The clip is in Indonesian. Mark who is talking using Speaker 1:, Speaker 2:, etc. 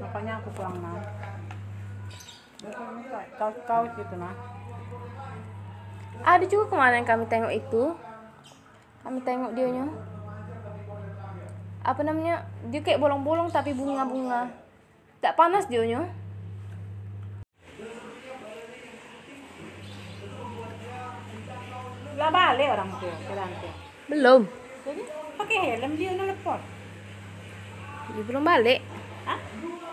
Speaker 1: makanya aku pulang na kau kau gitu nah
Speaker 2: Ada juga kemarin kami tengok itu. Kami tengok dianya. Apa namanya? Dia kayak bolong-bolong tapi bunga-bunga. Tak panas dianya.
Speaker 1: lah balik orang tuh jalan tuh
Speaker 2: Belum.
Speaker 1: jadi pakai helm dia ngelepon
Speaker 2: Dia belum balik.
Speaker 1: Hah?